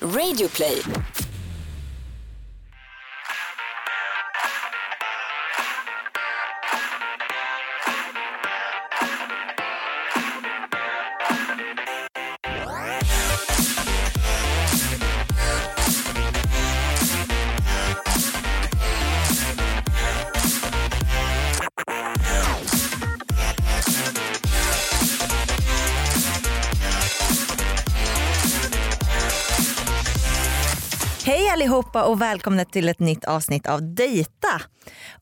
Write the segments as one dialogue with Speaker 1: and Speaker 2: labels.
Speaker 1: Radioplay.
Speaker 2: Hej allihopa och välkomna till ett nytt avsnitt av Dejta.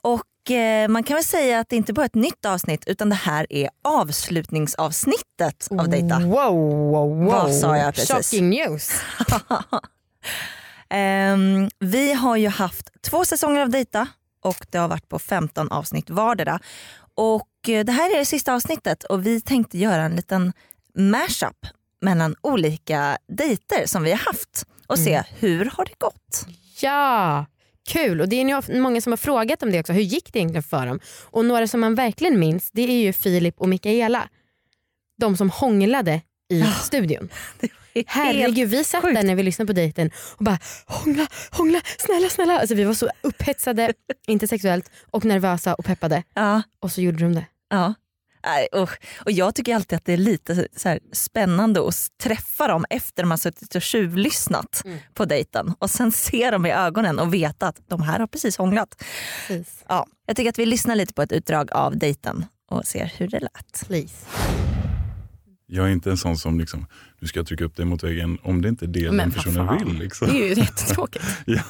Speaker 2: Och eh, man kan väl säga att det inte bara är ett nytt avsnitt utan det här är avslutningsavsnittet
Speaker 3: Mm.
Speaker 2: av Dejta.
Speaker 3: Wow, wow, wow.
Speaker 2: Vad sa jag precis?
Speaker 3: Shocking news.
Speaker 2: Ehm, vi har ju haft två säsonger av Dejta och det har varit på 15 avsnitt vardera. Och eh, det här är det sista avsnittet och vi tänkte göra en liten mashup mellan olika dejter som vi har haft och se hur har det gått.
Speaker 3: Ja, kul. Och det är ju många som har frågat om det också. Hur gick det egentligen för dem? Och några som man verkligen minns det är ju Filip och Mikaela. De som hånglade i studion. Herregud, vi satt
Speaker 2: Ah, sjukt.
Speaker 3: där när vi lyssnade på dejten och bara hångla, hångla, snälla, snälla. Alltså, vi var så upphetsade, inte sexuellt, och nervösa och peppade.
Speaker 2: Ja,
Speaker 3: Och så gjorde de det.
Speaker 2: Ja. Nej, usch. Och jag tycker alltid att det är lite så här spännande att träffa dem efter man har suttit och tjuvlyssnat
Speaker 4: Mm.
Speaker 2: på dejten och sen se dem i ögonen och veta att de här har precis hånglat.
Speaker 3: Precis.
Speaker 2: Ja. Jag tycker att vi lyssnar lite på ett utdrag av dejten och ser hur det lät.
Speaker 3: Please.
Speaker 5: Jag är inte en sån som liksom, nu ska jag trycka upp dig mot väggen om det inte är det den personen vill. Liksom.
Speaker 4: Det är ju jättetråkigt.
Speaker 5: Ja.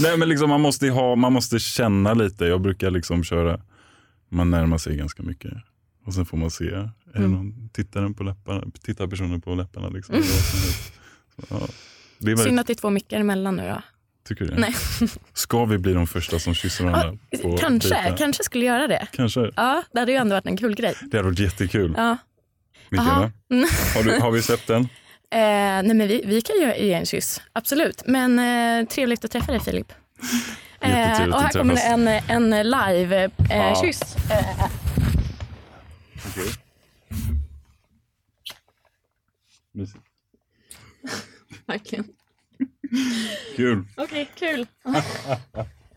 Speaker 5: Nej men liksom, man, måste ju ha, man måste känna lite. Jag brukar liksom köra, man närmar sig ganska mycket. Och sen får man se, är det
Speaker 4: Mm.
Speaker 5: någon, tittar, den på läpparna, tittar personen på läpparna? Liksom, Eller vad som helst. Så, ja. Det är väldigt,
Speaker 4: Synd att det är två mickar emellan nu då.
Speaker 5: tycker du det?
Speaker 4: Nej.
Speaker 5: Ska vi bli de första som kysser varandra? på
Speaker 4: kanske,
Speaker 5: dejten?
Speaker 4: kanske skulle göra det.
Speaker 5: kanske.
Speaker 4: Ja, det hade ju ändå varit en kul grej.
Speaker 5: Det hade varit jättekul.
Speaker 4: Ja.
Speaker 5: Mikaela,
Speaker 4: Aha. Mm.
Speaker 5: har, du, har vi släppt den?
Speaker 4: Eh, nej men vi, vi kan ju ge en kyss, absolut. Men eh, trevligt att träffa dig Filip. Eh,
Speaker 5: Jättetrevligt
Speaker 4: och här
Speaker 5: att
Speaker 4: kommer det
Speaker 5: träffas.
Speaker 4: en, en live-kyss. Eh,
Speaker 5: Ja.
Speaker 4: kyss. eh, verkligen.
Speaker 5: Kul.
Speaker 4: Okej, kul.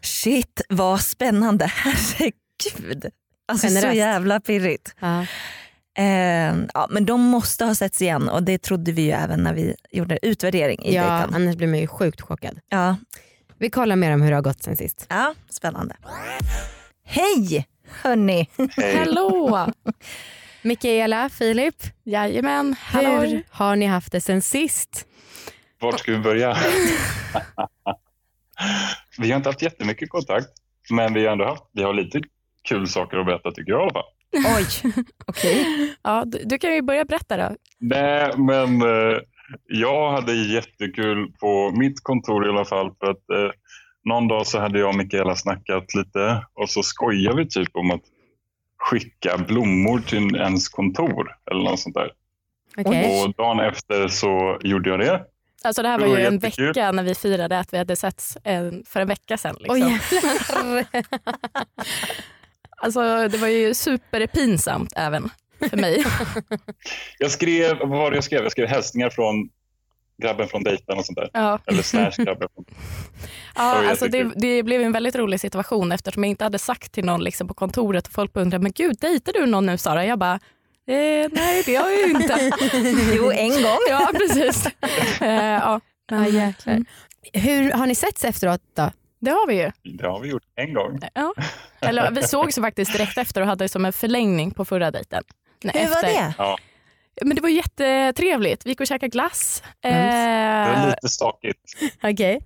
Speaker 2: Shit vad spännande, herregud. Alltså så
Speaker 3: Generöst.
Speaker 2: jävla pirrigt.
Speaker 3: Ja.
Speaker 2: Eh, ja, men de måste ha setts igen och det trodde vi ju även när vi gjorde utvärdering i
Speaker 3: ja,
Speaker 2: dejten.
Speaker 3: annars blir man ju sjukt chockad.
Speaker 2: Ja,
Speaker 3: Vi kollar mer om hur det har gått sen sist.
Speaker 2: Ja, spännande. Hej hörni!
Speaker 4: Hallå!
Speaker 3: Mikaela, Filip,
Speaker 4: Jajamän, hallå.
Speaker 3: hur har ni haft det sen sist?
Speaker 6: Vart ska vi börja? vi har inte haft jättemycket kontakt, men vi har ändå haft, vi har lite kul saker att berätta tycker jag i alla fall.
Speaker 2: Oj, okej.
Speaker 4: Ja, du, du kan ju börja berätta då.
Speaker 6: Nej, men eh, jag hade jättekul på mitt kontor i alla fall för att eh, någon dag så hade jag och Mikaela snackat lite och så skojade vi typ om att skicka blommor till ens kontor eller något sånt där.
Speaker 3: Okej.
Speaker 6: Och dagen efter så gjorde jag det.
Speaker 4: Alltså det här
Speaker 6: Det
Speaker 4: var ju
Speaker 6: var
Speaker 4: en
Speaker 6: jättekul.
Speaker 4: vecka när vi firade att vi hade setts eh, för en vecka sedan. Liksom.
Speaker 3: Oj, jävlar.
Speaker 4: Alltså, det var ju superpinsamt även för mig.
Speaker 6: Jag skrev, vad var det jag skrev? Jag skrev hälsningar från grabben från dejten och sånt där.
Speaker 4: ja.
Speaker 6: Eller slash grabben.
Speaker 4: Ja,
Speaker 6: var
Speaker 4: alltså det,
Speaker 6: jättekul.
Speaker 4: det blev en väldigt rolig situation eftersom jag inte hade sagt till någon liksom, på kontoret och folk bara undrade, men gud dejtar du någon nu Sara? Jag bara, eh, nej det har jag ju inte.
Speaker 2: Jo, en gång.
Speaker 4: ja precis. Eh, ja. eh,
Speaker 3: Ja, jäklar. Hur har ni setts efteråt då?
Speaker 4: Det har vi ju.
Speaker 6: Det har vi gjort en gång.
Speaker 4: Ja. Eller vi sågs faktiskt direkt efter och hade som en förlängning på förra dejten. Nej,
Speaker 2: Hur var
Speaker 4: efter.
Speaker 2: det?
Speaker 6: Ja,
Speaker 4: Men det var jättetrevligt. Vi gick och käkade glass.
Speaker 6: det
Speaker 4: Eh,
Speaker 6: var lite stakigt.
Speaker 3: Okej.
Speaker 6: Nej,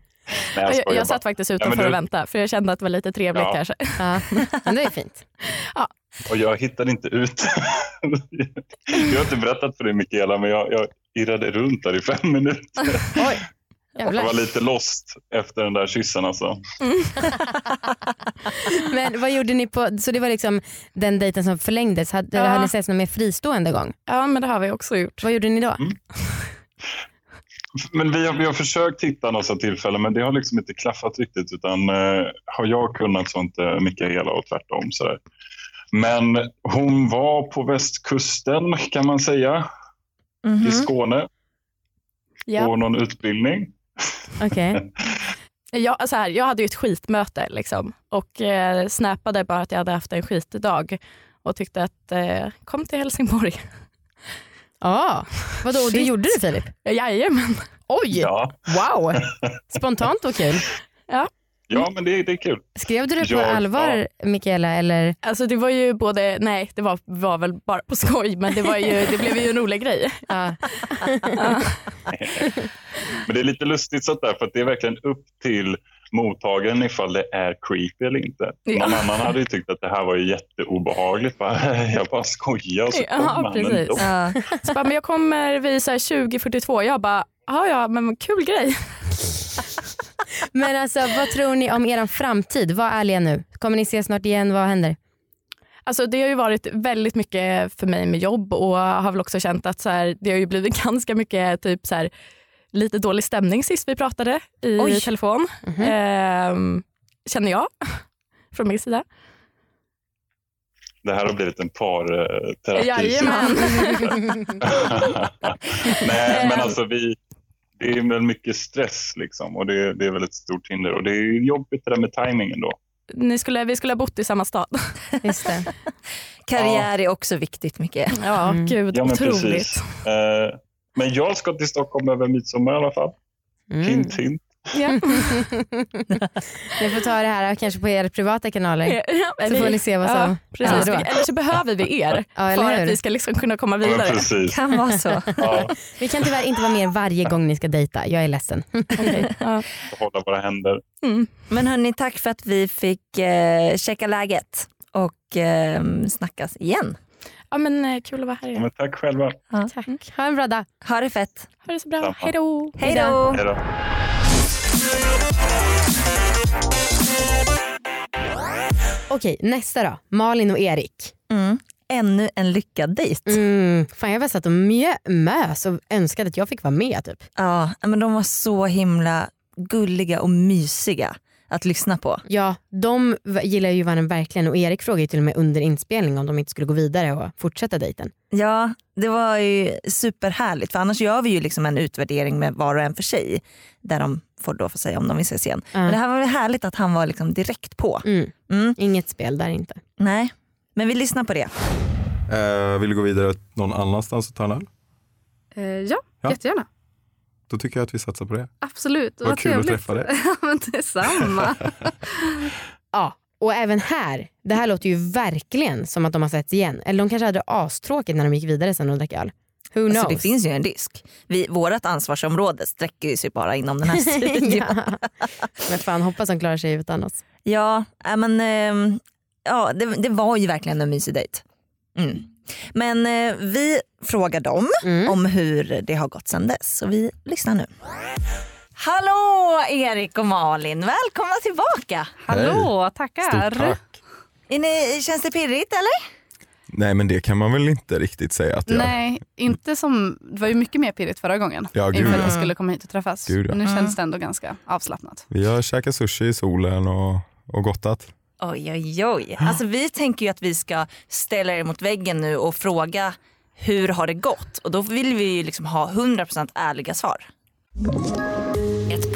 Speaker 6: jag,
Speaker 4: jag,
Speaker 6: skojar
Speaker 4: jag,
Speaker 6: bara.
Speaker 4: satt faktiskt
Speaker 6: Ja,
Speaker 4: utanför
Speaker 6: men du-
Speaker 4: och väntade för jag kände att det var lite trevligt
Speaker 6: Ja.
Speaker 4: kanske.
Speaker 3: Ja. Men det är fint.
Speaker 6: Och jag hittade inte ut. jag har inte berättat för dig Mikaela, men jag, jag irrade runt där i fem minuter. Jag var
Speaker 3: Jävlar.
Speaker 6: lite lost efter den där kyssen alltså.
Speaker 3: Men vad gjorde ni på, så det var liksom den dejten som förlängdes. Hade,
Speaker 4: Ja.
Speaker 3: Har ni setts någon mer fristående gång?
Speaker 4: Ja men det har vi också gjort.
Speaker 3: Vad gjorde ni då?
Speaker 6: Men vi har, vi har försökt hitta några sådana tillfällen, men det har liksom inte klaffat riktigt. Utan eh, har jag kunnat så har inte Mikaela och tvärtom. Sådär. Men hon var på västkusten
Speaker 2: Mhm.
Speaker 4: Mm.
Speaker 6: kan man säga, i Skåne,
Speaker 4: Ja.
Speaker 6: på någon utbildning.
Speaker 3: Okej.
Speaker 4: Jag, så här, jag hade ju ett skitmöte liksom, och eh, snappade bara att jag hade haft en skitdag och tyckte att eh, kom till Helsingborg.
Speaker 3: Ja. Vadå, och det
Speaker 4: Shit.
Speaker 3: gjorde du Filip?
Speaker 4: Jajamän.
Speaker 3: Ah. Oj,
Speaker 6: Ja,
Speaker 3: wow. Spontant och kul.
Speaker 6: ja men det, det är kul.
Speaker 3: Skrev du det på
Speaker 6: Ja,
Speaker 3: allvar Mikaela? Eller?
Speaker 4: Alltså, det var ju både, nej det var, var väl bara på skoj men det, var ju, det blev ju en rolig grej.
Speaker 3: Ja.
Speaker 6: Men det är lite lustigt sånt där för att det är verkligen upp till mottagaren ifall det är creepy eller inte. Någon
Speaker 4: Ja.
Speaker 6: annan hade ju tyckt att det här var ju jätteobehagligt. Bara, jag bara skojar och så
Speaker 4: Ja,
Speaker 6: kom han
Speaker 4: precis.
Speaker 6: ändå.
Speaker 2: Ja.
Speaker 4: Så bara, men jag kommer vid så här 20.42. Jag bara, ja ja men kul grej.
Speaker 3: Men alltså vad tror ni om er framtid? Var ärliga nu. Kommer ni ses snart igen? Vad händer?
Speaker 4: Alltså, det har ju varit väldigt mycket för mig med jobb och har väl också känt att så här, det har ju blivit ganska mycket typ så här, lite dålig stämning sist vi pratade i
Speaker 2: Oj.
Speaker 4: telefon.
Speaker 3: Mhm.
Speaker 4: Ehm, känner jag från min sida.
Speaker 6: Det här har blivit en eh, parterapi.
Speaker 4: Jajamän.
Speaker 6: Nej, men alltså vi, det är väl mycket stress liksom och det, det är väl ett stort hinder. Och det är ju jobbigt det där med tajmingen då.
Speaker 4: Ni skulle, vi skulle ha bott i samma stad.
Speaker 3: Just det.
Speaker 2: Karriär är också viktigt mycket.
Speaker 4: Ja,
Speaker 3: Mm.
Speaker 4: gud
Speaker 6: Ja, men
Speaker 4: otroligt.
Speaker 6: precis. Eh, men jag ska till Stockholm över midsommar i alla fall.
Speaker 3: Mm.
Speaker 6: Hint, hint.
Speaker 4: Ja.
Speaker 3: Ni får ta det här kanske på era privata kanaler.
Speaker 4: Ja,
Speaker 3: Så
Speaker 4: eller-
Speaker 3: får ni se vad som...
Speaker 4: Ja, precis.
Speaker 3: Ja, då.
Speaker 4: Eller så behöver vi er
Speaker 3: Ja,
Speaker 4: för
Speaker 3: eller
Speaker 4: att vi
Speaker 3: hur?
Speaker 4: ska liksom kunna komma
Speaker 6: Ja, men
Speaker 4: vidare.
Speaker 6: precis.
Speaker 2: Kan vara så.
Speaker 6: Ja,
Speaker 3: Vi kan tyvärr inte vara med er varje gång ni ska dejta. Jag är ledsen.
Speaker 4: Okej, ja.
Speaker 6: och hålla våra händer.
Speaker 4: Mm.
Speaker 2: Men hörni, tack för att vi fick eh, checka läget och eh, snackas igen.
Speaker 4: ja, men eh, kul att vara här
Speaker 6: Ja,
Speaker 4: igen.
Speaker 6: men tack själva.
Speaker 4: Tack.
Speaker 3: Mm. Ha en bra dag.
Speaker 2: Ha det fett.
Speaker 4: Ha det så bra.
Speaker 6: Samma.
Speaker 4: Hej då.
Speaker 2: Hej då!
Speaker 6: Hej då.
Speaker 3: Okej, nästa då. Malin och Erik.
Speaker 2: Mm. Ännu en lyckad dejt.
Speaker 3: Mm, fan jag bara satt och mjö, mös och önskade att jag fick vara med typ.
Speaker 2: Ja, men de var så himla gulliga och mysiga att lyssna på.
Speaker 3: Ja, de v- gillar ju varandra verkligen och Erik frågade ju till och med under inspelning om de inte skulle gå vidare och fortsätta dejten.
Speaker 2: Ja, det var ju superhärligt för annars gör vi ju liksom en utvärdering med var och en för sig där de får då få säga om de vill ses igen.
Speaker 3: Ja.
Speaker 2: Men det här var väl härligt att han var liksom direkt på.
Speaker 3: Mm,
Speaker 2: Mm.
Speaker 3: inget spel där inte.
Speaker 2: Nej, men vi lyssnar på det.
Speaker 1: Eh, vill du gå vidare någon annanstans och ta en öl?
Speaker 7: Eh, ja,
Speaker 1: Ja.
Speaker 7: jättegärna.
Speaker 1: Då tycker jag att vi satsar på det.
Speaker 7: Absolut.
Speaker 1: Vad kul att träffa dig.
Speaker 7: Ja, men detsamma.
Speaker 3: Ja, och även här, det här låter ju verkligen som att de har setts igen. Eller de kanske hade det astråkigt när de gick vidare sen och drack öl. Who knows?
Speaker 2: Alltså, det finns ju en risk. Vi, vårat ansvarsområde sträcker ju sig bara inom den här studion. ja.
Speaker 3: ja. Men fan hoppas de klarar sig utan oss.
Speaker 2: Ja, äh, men, ehm, ja det, det var ju verkligen en mysig dejt. Mm. Men eh, vi frågar dem
Speaker 3: Mm.
Speaker 2: om hur det har gått sedan dess. Så vi lyssnar nu. Hallå Erik och Malin, välkomna tillbaka.
Speaker 7: Hallå, tackar.
Speaker 1: Stort tack.
Speaker 2: Är ni, känns det pirrigt eller?
Speaker 1: Nej men det kan man väl inte riktigt säga att jag...
Speaker 7: Nej, inte som, det var ju mycket mer pirrigt förra gången.
Speaker 1: Ja, gud,
Speaker 7: inför att
Speaker 1: ja.
Speaker 7: vi skulle komma hit och träffas.
Speaker 1: Gud, ja.
Speaker 7: Nu känns det ändå ganska avslappnat.
Speaker 1: Vi har käkat sushi i solen och, och gottat.
Speaker 2: Oj oj oj. Alltså, vi tänker ju att vi ska ställa er mot väggen nu och fråga hur har det gått? Och då vill vi ju liksom ha 100% ärliga svar.
Speaker 8: Ett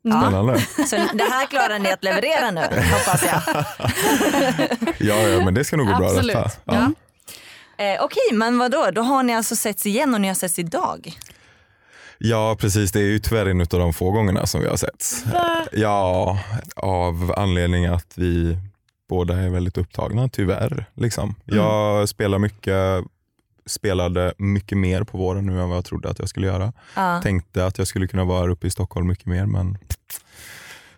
Speaker 1: Spännande.
Speaker 2: Så det här klarar ni att leverera nu hoppas jag.
Speaker 1: Ja, ja men det ska nog gå bra
Speaker 7: Absolut.
Speaker 1: detta. Ja.
Speaker 7: Ja.
Speaker 2: Eh, Okej, men vad då? Då har ni alltså setts igen och ni har setts idag?
Speaker 1: ja precis, det är ju tyvärr en av de få gångerna som vi har setts. Ja, av anledning att vi båda är väldigt upptagna tyvärr. Liksom. Jag spelar mycket, spelade mycket mer på våren nu än vad jag trodde att jag skulle göra.
Speaker 2: Ja.
Speaker 1: Tänkte att jag skulle kunna vara här uppe i Stockholm mycket mer men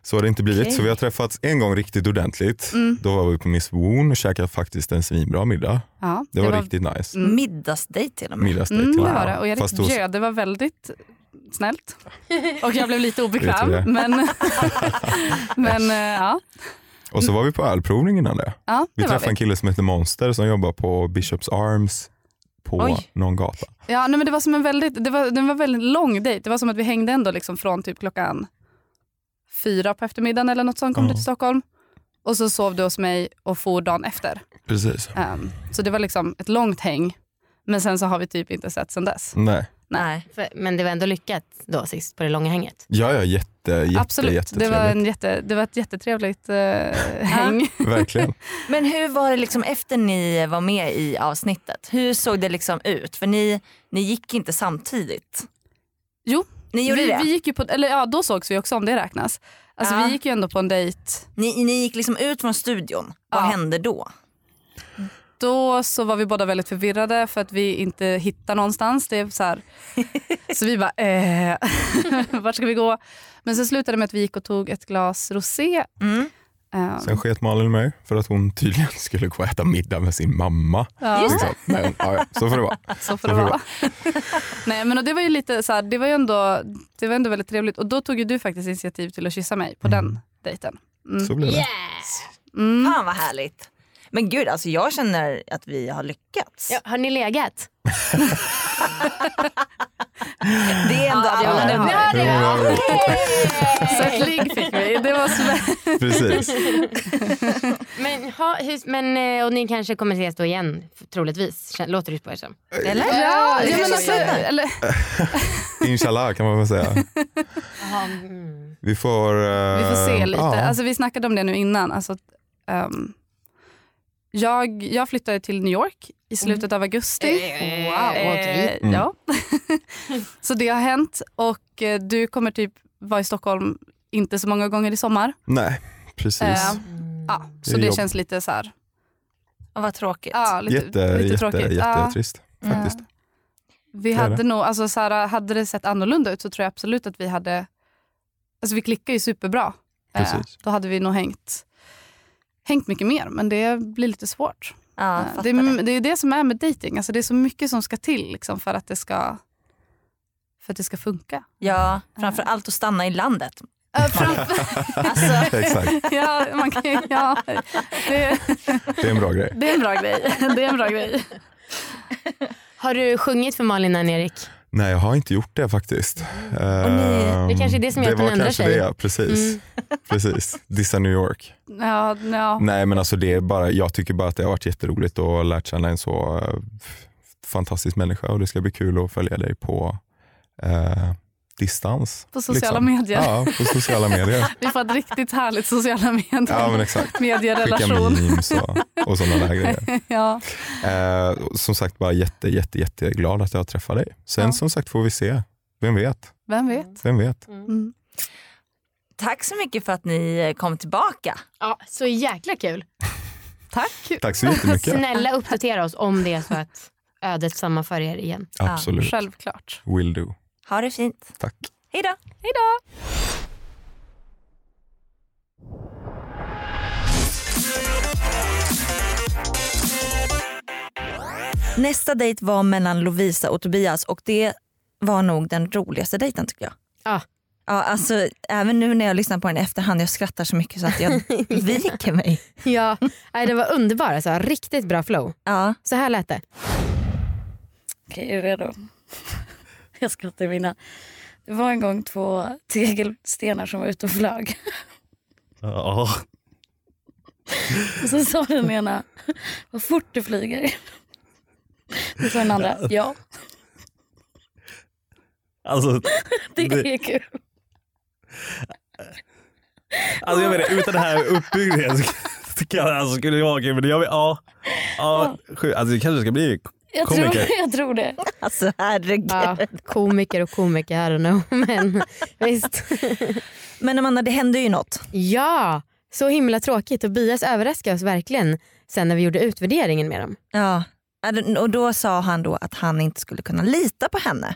Speaker 1: så har det inte blivit.
Speaker 2: Okej.
Speaker 1: Så vi har träffats en gång riktigt ordentligt.
Speaker 7: Mm.
Speaker 1: Då var vi på Miss Woon och käkade faktiskt en svinbra middag.
Speaker 7: Ja,
Speaker 1: Det, var, riktigt nice.
Speaker 7: Mm.
Speaker 2: Middagsdejt till och med.
Speaker 1: Middagsdejt
Speaker 7: Mm,
Speaker 1: till och
Speaker 7: det
Speaker 1: med.
Speaker 7: var det. Och Erik
Speaker 1: Fast hos-
Speaker 7: bjöd, det var väldigt snällt. Och jag blev lite
Speaker 1: Det tror jag.
Speaker 7: obekväm. Men, men eh, ja,
Speaker 1: Och så var vi på ölprovning innan det.
Speaker 7: ja
Speaker 1: Vi
Speaker 7: det var
Speaker 1: träffade en
Speaker 7: vi.
Speaker 1: kille som heter Monster som jobbar på Bishops Arms på
Speaker 7: Oj.
Speaker 1: någon gata.
Speaker 7: Ja, nej, men det var som en väldigt, det var, det var en väldigt lång dejt. Det var som att vi hängde ändå liksom från typ klockan fyra på eftermiddagen eller något sånt kom
Speaker 1: Ja.
Speaker 7: du till Stockholm. Och så sov du hos mig och for dagen efter.
Speaker 1: Precis.
Speaker 7: Ehm, så det var liksom ett långt häng. Men sen så har vi typ inte sett sen dess.
Speaker 1: Nej.
Speaker 2: Nej.
Speaker 3: För, men det var ändå lyckat då sist på det långa hänget.
Speaker 1: Ja, ja, jätte, jätte,
Speaker 7: Absolut, det var, en jätte, det var ett jättetrevligt eh, häng.
Speaker 1: Verkligen.
Speaker 2: Men hur var det liksom efter ni var med i avsnittet? Hur såg det liksom ut? För ni, ni gick inte samtidigt.
Speaker 7: Jo,
Speaker 2: Ni gjorde
Speaker 7: vi,
Speaker 2: det?
Speaker 7: Vi gick ju på, eller ja, då sågs vi också om det räknas. Alltså
Speaker 2: Ja.
Speaker 7: vi gick ju ändå på en dejt.
Speaker 2: Ni, ni gick liksom ut från studion. Vad
Speaker 7: Ja.
Speaker 2: hände då?
Speaker 7: Då så var vi båda väldigt förvirrade för att vi inte hittar någonstans. Det är så, här. så vi bara, eh, vart ska vi gå? Men sen slutade det med att vi gick och tog ett glas rosé.
Speaker 2: Mm.
Speaker 7: Ehm,
Speaker 1: Sen sket Malin mig för att hon tydligen skulle gå och äta middag med sin mamma.
Speaker 7: ja.
Speaker 1: Liksom. Men, ja, ja, så får det vara.
Speaker 7: Så får det vara. Nej men och det var ju lite så här, det var ju ändå, det var ändå väldigt trevligt och då tog ju du faktiskt initiativ till att kyssa mig på den dejten. Mm.
Speaker 1: Så blev det.
Speaker 7: Mm.
Speaker 2: Fan vad härligt. Men gud alltså jag känner att vi har lyckats.
Speaker 3: Ja, har ni legat?
Speaker 2: Det är ändå
Speaker 7: Ja,
Speaker 2: alla.
Speaker 7: men det har vi.
Speaker 1: Jo, ja, ja,
Speaker 7: Så ett ligg fick vi. Det var så...
Speaker 1: Precis.
Speaker 3: Men, ha, hur, men eh, och ni kanske kommer ses då igen f- troligtvis, Kän- låter det på er som.
Speaker 2: Eller?
Speaker 7: Ja,
Speaker 2: det
Speaker 7: ja, men
Speaker 2: känns
Speaker 7: alltså,
Speaker 2: så här.
Speaker 7: eller,
Speaker 1: Inshallah kan man väl säga.
Speaker 3: Mm.
Speaker 1: Vi får, eh,
Speaker 7: vi får se lite.
Speaker 1: Ja,
Speaker 7: Alltså, vi snackade om det nu innan. Alltså, ehm, jag, jag flyttade till New York i slutet av augusti.
Speaker 3: Eh, wow, okej.
Speaker 1: Mm.
Speaker 7: Eh, ja. så det har hänt och eh, du kommer typ vara i Stockholm inte så många gånger i sommar.
Speaker 1: nej, precis.
Speaker 7: Eh,
Speaker 3: Mm.
Speaker 7: ja, så
Speaker 1: Det är
Speaker 7: det,
Speaker 1: jobb.
Speaker 7: känns lite så här,
Speaker 2: Ja, vad tråkigt.
Speaker 7: ja, lite,
Speaker 1: jätte,
Speaker 7: lite
Speaker 1: jätte,
Speaker 7: tråkigt.
Speaker 1: jätte,
Speaker 7: Ja.
Speaker 1: trist faktiskt.
Speaker 7: Vi
Speaker 1: är
Speaker 7: hade
Speaker 1: det.
Speaker 7: nog, alltså så här, hade det sett annorlunda ut så tror jag absolut att vi hade, alltså vi klickar ju superbra. Eh,
Speaker 1: Precis.
Speaker 7: då hade vi nog hängt, hängt mycket mer, men det blir lite svårt.
Speaker 2: Ja,
Speaker 7: Eh,
Speaker 2: fattar
Speaker 7: det,
Speaker 2: det.
Speaker 7: är, det är ju det som är med dating. alltså det är så mycket som ska till liksom, för, att det ska, för att det ska funka.
Speaker 2: Ja, framförallt att stanna i landet.
Speaker 7: Alltså,
Speaker 1: Exakt,
Speaker 7: ja, man kan, ju- ja, det,
Speaker 1: det är en bra grej.
Speaker 7: det är en bra grej. Det är en bra grej.
Speaker 3: Har du sjungit för Malin än Erik?
Speaker 1: Nej, jag har inte gjort det faktiskt.
Speaker 3: ni- det kanske är det som gör att hon
Speaker 1: var
Speaker 3: ändrar
Speaker 1: kanske
Speaker 3: sig. Mm.
Speaker 1: Det, precis. precis. Dissa New York.
Speaker 7: Ja, ja.
Speaker 1: Nej men alltså det är bara, jag tycker bara att det har varit jätteroligt och lärt känna en så eh, f- fantastisk människa och det ska bli kul att följa dig på eh, distans. liksom.
Speaker 7: På sociala medier.
Speaker 1: Ja, på sociala medier.
Speaker 7: Vi får ett riktigt härligt sociala medier.
Speaker 1: Ja men exakt. Skicka
Speaker 7: medierelation.
Speaker 1: memes och, och sådana där grejer.
Speaker 7: Ja.
Speaker 1: Eh, och som sagt bara jätte, jätte, jätteglad att jag träffar dig. Sen
Speaker 7: Ja.
Speaker 1: som sagt får vi se. Vem vet?
Speaker 7: Vem vet?
Speaker 1: Vem vet?
Speaker 7: Mm.
Speaker 2: Tack så mycket för att ni kom tillbaka.
Speaker 3: Ja, så jäkla kul.
Speaker 7: Tack.
Speaker 1: Tack så jättemycket.
Speaker 3: Snälla uppdatera oss om det är så att ödet sammanför er igen.
Speaker 1: Absolut.
Speaker 7: Självklart.
Speaker 1: Will do.
Speaker 2: Ha det fint.
Speaker 1: Tack.
Speaker 2: Hej då. Nästa dejt var mellan Lovisa och Tobias och det var nog den roligaste dejten tycker jag.
Speaker 3: Ja.
Speaker 2: Ja, alltså, även nu när jag lyssnar på den i efterhand, jag skrattar så mycket så att jag viker mig.
Speaker 3: Ja, nej, det var underbart. Alltså. Riktigt bra flow.
Speaker 2: Ja.
Speaker 3: Så här lät det.
Speaker 9: Okej, är du redo? Jag ska återvinna. Det var en gång två tegelstenar som var ute och flög.
Speaker 5: Ja.
Speaker 9: Och så sa den ena, vad fort du flyger. Då sa den andra, ja
Speaker 5: Alltså,
Speaker 9: det
Speaker 5: Det-
Speaker 9: är kul.
Speaker 5: alltså jag menar, utan den här uppbyggnaden så så kan, alltså, skulle det vara kul. Men jag vill, ja, ja, sju- alltså, det kanske ska bli
Speaker 9: Jag tror,
Speaker 5: komiker.
Speaker 9: jag tror det.
Speaker 2: Alltså herregud.
Speaker 3: Ja, komiker och komiker, I don't know. Men visst.
Speaker 2: Men Amanda det hände ju något.
Speaker 3: Ja, så himla tråkigt. Och Bias överraskade oss verkligen sen när vi gjorde utvärderingen med dem.
Speaker 2: Ja. Och då sa han då att han inte skulle kunna lita på henne.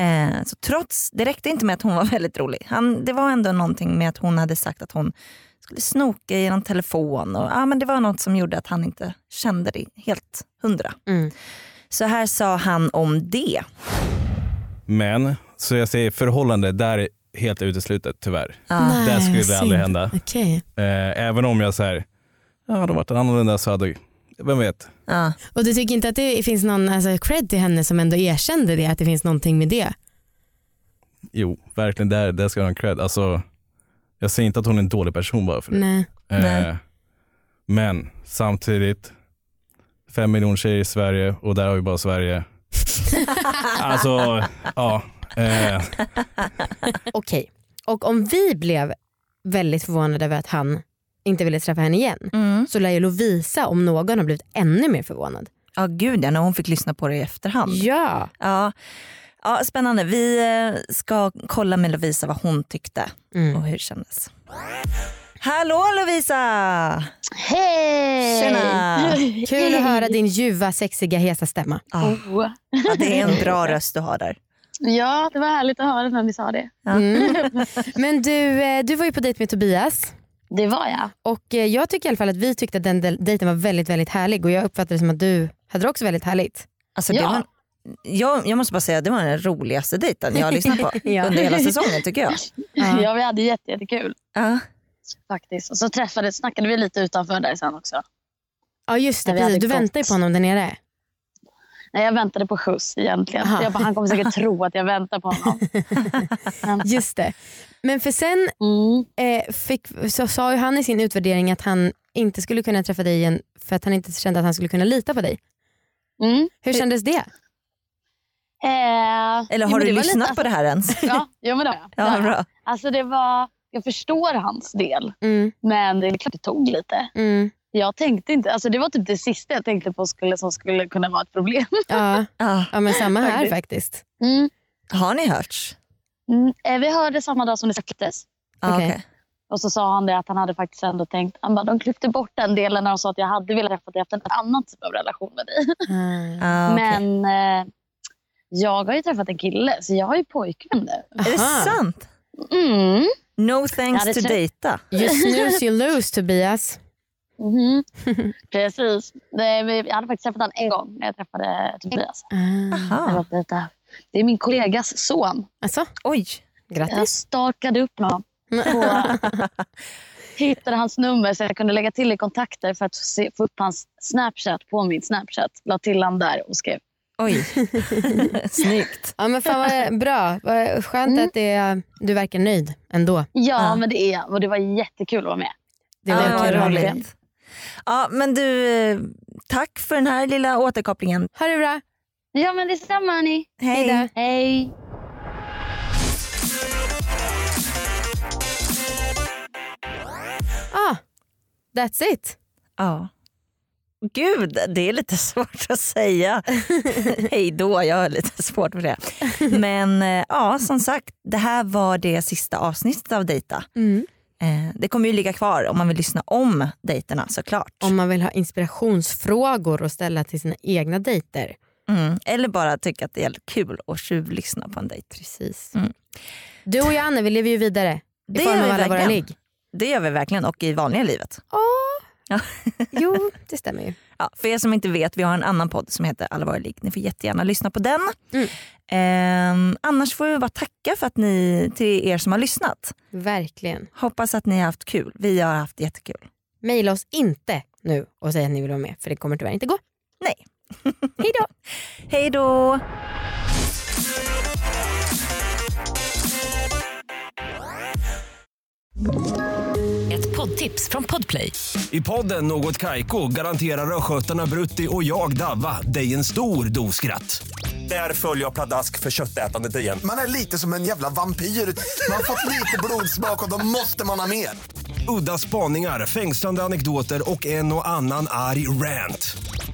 Speaker 2: Eh, så trots, det räckte inte med att hon var väldigt rolig. Han, det var ändå någonting med att hon hade sagt att hon skulle snoka i någon telefon. Och, ja, men det var något som gjorde att han inte kände det helt hundra.
Speaker 3: Mm.
Speaker 2: Så här sa han om det.
Speaker 5: Men
Speaker 10: Så jag säger förhållande, där är helt uteslutet tyvärr.
Speaker 3: Ah. Nej,
Speaker 10: där skulle det
Speaker 3: synd.
Speaker 10: aldrig hända.
Speaker 3: Okej.
Speaker 10: Eh, även om jag så här, ja, hade varit annorlunda så hade, vem vet.
Speaker 3: Och du tycker inte att det finns någon alltså, cred till henne som ändå erkände det, att det finns någonting med det?
Speaker 10: Jo, verkligen där, där ska jag ha en cred. Alltså, jag säger inte att hon är en dålig person bara för det.
Speaker 3: Nej.
Speaker 10: Eh, men samtidigt, fem miljoner tjejer i Sverige och där har vi bara Sverige. alltså, ja. Eh,
Speaker 3: Okej. Och om vi blev väldigt förvånade över att han inte ville träffa henne igen
Speaker 2: Mm.
Speaker 3: så lär ju Lovisa om någon ha blivit ännu mer förvånad.
Speaker 2: Ja gud ja, när hon fick lyssna på det i efterhand.
Speaker 3: Ja.
Speaker 2: Ja, ja spännande. Vi eh, ska kolla med Lovisa vad hon tyckte
Speaker 3: Mm.
Speaker 2: och hur det kändes. Hallå Lovisa!
Speaker 7: Hej!
Speaker 2: Tjena!
Speaker 3: Kul att höra din ljuva, sexiga, hesa stämma.
Speaker 7: Oh.
Speaker 2: Ja, det är en bra röst du har där.
Speaker 7: Ja, det var härligt att höra när ni sa det.
Speaker 3: Mm. Men du, eh, du var ju på dejt med Tobias.
Speaker 7: Det var jag.
Speaker 3: Och eh, jag tycker i alla fall att vi tyckte att den del- dejten var väldigt, väldigt härlig och jag uppfattade det som att du hade det också väldigt härligt.
Speaker 2: Alltså, det Ja. var- Jag, jag måste bara säga det var den roligaste dejten jag har lyssnat på
Speaker 3: Ja.
Speaker 2: under hela säsongen tycker jag.
Speaker 7: Ja, vi hade jätte- jättekul.
Speaker 2: Ja.
Speaker 7: Faktiskt. Och så träffades, snackade vi lite utanför där sen också.
Speaker 3: Ja just det,
Speaker 7: När vi hade
Speaker 3: precis. du
Speaker 7: gått.
Speaker 3: väntar ju på honom där nere.
Speaker 7: Nej, jag väntade på skjuts egentligen.
Speaker 3: Aha.
Speaker 7: Jag bara, han kommer säkert tro att jag väntar på honom.
Speaker 3: Just det. Men för sen
Speaker 7: Mm.
Speaker 3: eh, fick, så sa ju han i sin utvärdering att han inte skulle kunna träffa dig igen för att han inte kände att han skulle kunna lita på dig.
Speaker 7: Mm.
Speaker 3: Hur kändes det?
Speaker 2: Eller
Speaker 7: jo,
Speaker 2: har
Speaker 7: Eh, men
Speaker 2: du
Speaker 7: det var
Speaker 2: lyssnat
Speaker 7: lite-
Speaker 2: på det här ens?
Speaker 7: Ja, jo, men det har jag.
Speaker 2: Ja,
Speaker 7: Det har jag.
Speaker 2: bra.
Speaker 7: Alltså, det var, jag förstår hans del,
Speaker 3: Mm.
Speaker 7: men det är klart det tog lite. Jag tänkte inte, alltså det var typ det sista jag tänkte på skulle, som skulle kunna vara ett problem.
Speaker 3: Ja. ja, men samma här
Speaker 7: Faktiskt.
Speaker 3: faktiskt.
Speaker 7: Mm.
Speaker 2: Har ni hörts?
Speaker 7: Mm, eh, vi hörde samma dag som det släpptes.
Speaker 2: Ah, Okej. okej.
Speaker 7: Och så sa han det att han hade faktiskt ändå tänkt, han bara, de klippte bort den delen när de sa att jag hade velat träffa dig efter en annan typ av relation med dig.
Speaker 2: Ah, okej.
Speaker 7: Men eh, jag har ju träffat en kille så jag har ju pojkvän nu.
Speaker 2: Är det sant?
Speaker 7: Mm.
Speaker 2: No
Speaker 7: Jag
Speaker 2: thanks
Speaker 7: hade
Speaker 2: to
Speaker 7: trä-
Speaker 2: dejta.
Speaker 3: You snooze you lose Tobias.
Speaker 7: Mhm. Precis. Det, vi- jag hade faktiskt träffat honom en gång när jag träffade Tobias.
Speaker 2: Ah.
Speaker 7: Det var på detta. Det är min kollegas son.
Speaker 3: Alltså?
Speaker 2: Oj.
Speaker 7: Jag stalkade upp honom. På, hittade hans nummer så jag kunde lägga till i kontakter för att se, få upp hans Snapchat på min Snapchat. La till han där och skrev.
Speaker 2: Oj. Snyggt.
Speaker 3: Ja, men fan vad bra. Vad skönt att det, du verkar nöjd ändå.
Speaker 7: Ja, men det är jag. Och det var jättekul att vara med.
Speaker 3: Det var
Speaker 2: Ja,
Speaker 3: kul
Speaker 2: vad
Speaker 3: att höra.
Speaker 2: roligt. Ja, men du, eh, tack för den här lilla återkopplingen.
Speaker 3: Ha det bra.
Speaker 7: Ja, men detsamma hörni.
Speaker 2: Hej. Hej
Speaker 7: Hej.
Speaker 3: Ah, that's it.
Speaker 2: Ja. Gud, det är lite svårt att säga hej då. Jag har lite svårt för det. Men eh, ja, som sagt, det här var det sista avsnittet av Dejta.
Speaker 3: Mm.
Speaker 2: Eh, Det kommer ju ligga kvar om man vill lyssna om dejterna såklart.
Speaker 3: Om man vill ha inspirationsfrågor att ställa till sina egna dejter.
Speaker 2: Mm. Eller bara tycka att det är kul att tjuvlyssna på en dejt.
Speaker 3: Precis.
Speaker 2: Mm.
Speaker 3: Du och jag Anna, vi lever ju vidare i
Speaker 2: Det
Speaker 3: form
Speaker 2: gör
Speaker 3: av
Speaker 2: vi
Speaker 3: alla våra
Speaker 2: verkligen.
Speaker 3: ligg.
Speaker 2: Det gör vi verkligen och i vanliga livet.
Speaker 3: Jo, det stämmer ju.
Speaker 2: Ja, för er som inte vet, vi har en annan podd som heter Alla våra ligg. Ni får jättegärna lyssna på den. Ehm, annars får vi bara tacka för att ni, till er som har lyssnat.
Speaker 3: Verkligen.
Speaker 2: Hoppas att ni har haft kul. Vi har haft jättekul.
Speaker 3: Maila oss inte nu och säg att ni vill vara med för det kommer tyvärr inte gå.
Speaker 2: Nej.
Speaker 3: Hej då.
Speaker 2: Hej då.
Speaker 8: Ett poddtips från Podplay.
Speaker 11: I podden Något Kaiko garanterar östgötarna Brutti och jag, Davva, dig en stor dos skratt. Där följer jag pladask för köttätandet igen.
Speaker 12: Man är lite som en jävla vampyr. Man har fått lite blodsmak och då måste man ha mer.
Speaker 11: Udda spaningar, fängslande anekdoter och en och annan arg rant.